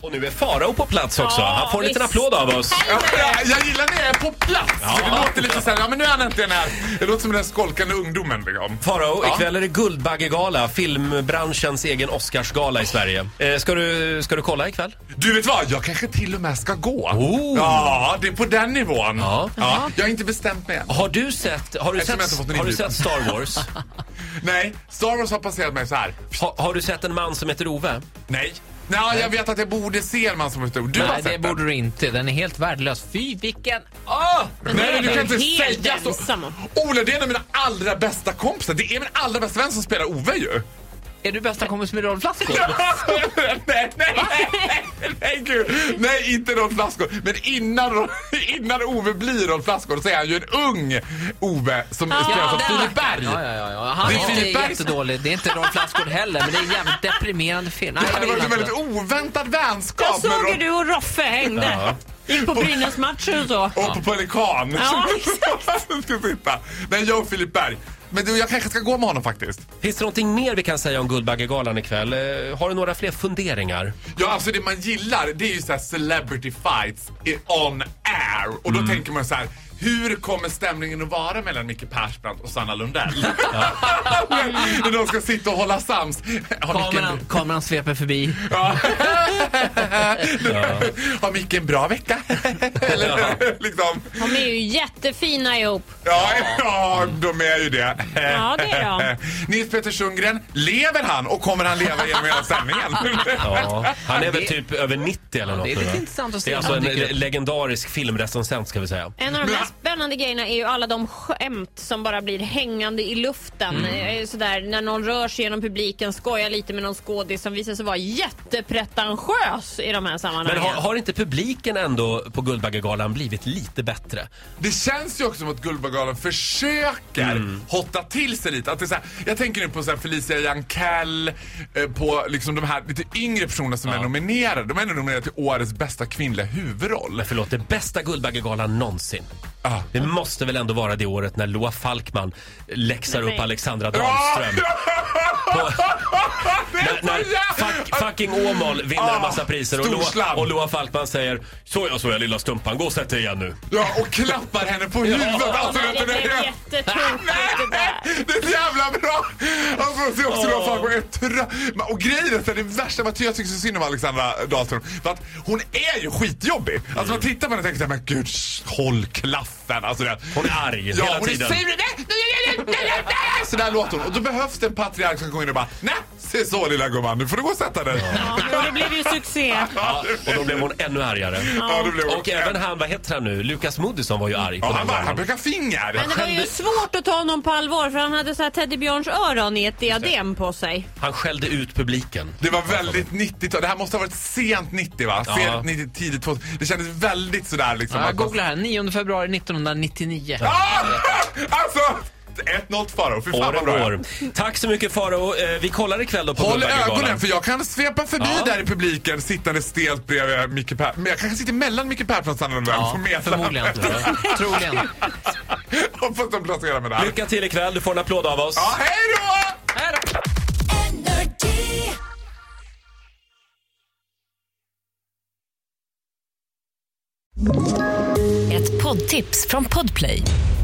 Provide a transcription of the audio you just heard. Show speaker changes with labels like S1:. S1: Och nu är Farao på plats också. Han får en liten
S2: visst.
S1: applåd av oss.
S2: Ja,
S3: Ja, jag gillar när jag är på plats. Det låter lite så här, ja men nu är han äntligen här. Det låter som den skolkande ungdomen. Liksom.
S1: Farao,
S3: Ja.
S1: ikväll är det Guldbaggegala, filmbranschens egen Oscarsgala i Sverige. Eh, ska, du, ska du kolla ikväll?
S3: Du vet vad, jag kanske till och med ska gå.
S1: Oh.
S3: Ja, det är på den nivån.
S1: Ja.
S3: Jag har inte bestämt mig än.
S1: Har du sett, har du
S3: Eftersom jag inte
S1: sett,
S3: fått någon
S1: har du
S3: inbjudan.
S1: sett Star Wars?
S3: Nej, Star Wars har passerat mig så här.
S1: Ha, har du sett en man som heter Ove?
S3: Nej. Nej, jag vet att jag borde se en man som är stor. Du har
S4: Nej,
S3: sett
S4: det
S3: den.
S4: borde du inte. Den är helt värdelös. Fy, vilken... Åh!
S3: Nej,
S2: den
S3: du kan
S2: är
S3: inte
S2: helt
S3: säga så.
S2: ensam om.
S3: Ola, det är en av mina allra bästa kompisar. Det är min allra bästa vän som spelar Ove ju.
S4: Är du bästa kompis med Rolf Lassgård?
S3: nej, nej, nej, nej, nej, gud. nej, inte Rolf Lassgård. Men innan, Ro- innan Ove blir Rolf Lassgård så är han ju en ung Ove som spelas av
S4: den
S3: Filip Berg.
S4: rackaren. Ja, ja, ja, ja. Han
S3: Det
S4: det
S3: är
S4: är
S3: Filip
S4: inte
S3: Berg.
S4: jättedålig. Det är inte Rolf Lassgård heller, men det är en jävligt deprimerande film. Nej,
S3: Det hade
S4: jag
S3: varit en
S4: gillar
S3: väldigt
S4: inte.
S3: oväntad
S2: Jag
S3: vänskap
S2: såg
S3: med
S2: hur
S3: Rolf
S2: du och Roffe hängde. Gick på Brynäs-matcher och så.
S3: och på Pelikan.
S2: Ja,
S3: Som ska sitta. Nej, jag och Filip Berg. Men du, jag kanske ska gå med honom faktiskt.
S1: Finns det någonting mer vi kan säga om Guldbaggegalan ikväll? Eh, har du några fler funderingar?
S3: Ja, alltså det man gillar det är ju så här celebrity fights i- on air. Och då tänker man så här, hur kommer stämningen att vara mellan Micke Persbrandt och Sanna Lundell? Men När de ska sitta och hålla sams. Har Micke,
S4: Kameran,
S3: en,
S4: kameran sveper förbi.
S3: ja. Har Micke en bra vecka? Eller liksom.
S2: De är ju jättefina ihop.
S3: Ja, ja, de är ju det.
S2: Ja, det är de.
S3: Nils Petter Sundgren, lever han och kommer han leva genom hela sändningen?
S1: Ja, han är väl
S4: Det-
S1: typ över 90 eller något.
S4: Det är lite
S1: va?
S4: intressant att
S1: Det
S4: se.
S1: är alltså en
S4: Han dyker upp.
S1: legendarisk filmrecensent ska vi säga.
S2: En av de
S3: Men-
S2: mest spännande grejerna är ju alla de skämt som bara blir hängande i luften.
S3: Mm.
S2: Eh, Sådär, när någon rör sig genom publiken, skojar lite med någon skådis som visar sig vara jättepretentiös i de här
S1: Men
S2: sammanhangen.
S1: har, har inte publiken ändå på Guldbaggegalan blivit lite bättre?
S3: Det känns ju också som att Guldbaggegalan försöker
S1: Mm.
S3: hotta till sig lite. Att det är så här, jag tänker nu på så här Felicia Jankell, eh, på liksom de här lite yngre personerna som är nominerade. De är ändå nominerade till årets bästa kvinnliga huvudroll.
S1: Men förlåt, det bästa Guldbaggegalan någonsin.
S3: Ah.
S1: Det måste väl ändå vara det året när Loa Falkman läxar
S2: Nej.
S1: upp
S3: Ah!
S1: Alexandra Dahlström. På,
S3: Det är
S1: när,
S3: så
S1: när
S3: jävla-
S1: fuck, fucking Åmål vinner en massa priser och Loa,
S3: storslam.
S1: och Loa Falkman säger Såja, såja lilla stumpan, gå och sätt dig igen nu.
S3: Ja, och klappar henne på huvudet. Alltså,
S2: Nej,
S3: det,
S2: det
S3: det,
S2: blev
S3: det,
S2: jättetungt det där.
S3: det är så jävla bra! Alltså, det är också oh. folk är trö- Och grejen är att det värsta var att jag tycker så synd om Alexandra Dahlström. För att hon är ju skitjobbig. Alltså man tittar på henne och tänker såhär, men gud, sh- håll klaffen. Alltså, det,
S1: Hon är arg
S3: ja,
S1: hela
S3: hon
S1: tiden.
S3: Är sämre. Nej, nej, nej, nej, nej, nej, nej. så där låter hon. Och då behövs det en patriark som går in och bara, nej, se så lilla gumman, nu får du gå och sätta dig.
S2: Ja, men det blev ju succé.
S1: Ja, och då blev hon ännu argare.
S3: Ja, det blev hon.
S1: Och även han, vad heter han nu? Lukas Moodysson var ju arg på
S3: Ja,
S1: den
S3: han, bara, han
S1: galan.
S3: pekar finger.
S2: Men det var ju svårt att ta honom på allvar för han hade så här teddybjörnsöron i ett diadem på sig.
S1: Han skällde ut publiken.
S3: Det var väldigt 90-tal. Det här måste ha varit sent 90 va?
S1: Ja.
S3: Sent 90, tidigt 2000. Det kändes väldigt sådär liksom.
S4: Ja, jag
S3: att man-
S4: googlar här. 9 februari 1999.
S3: Ah! Alltså! 1-0 Farao. Fy fan
S1: År
S3: vad
S1: och
S3: bra.
S1: år. Tack så mycket Faro. Eh, Vi kollar ikväll då på
S3: Håll
S1: Guldbaggegalan.
S3: ögonen för jag kan svepa förbi
S1: Ja.
S3: där i publiken sittande stelt bredvid Micke Per. Men jag kanske sitter mellan Micke Persson och Sanna Lundell.
S4: Ja,
S3: Får meta.
S4: förmodligen. Troligen.
S3: Hoppas de placerar mig där.
S1: Lycka till ikväll. Du får en applåd av oss.
S3: Ja, hej då!
S4: Här då.
S5: Ett poddtips från Podplay.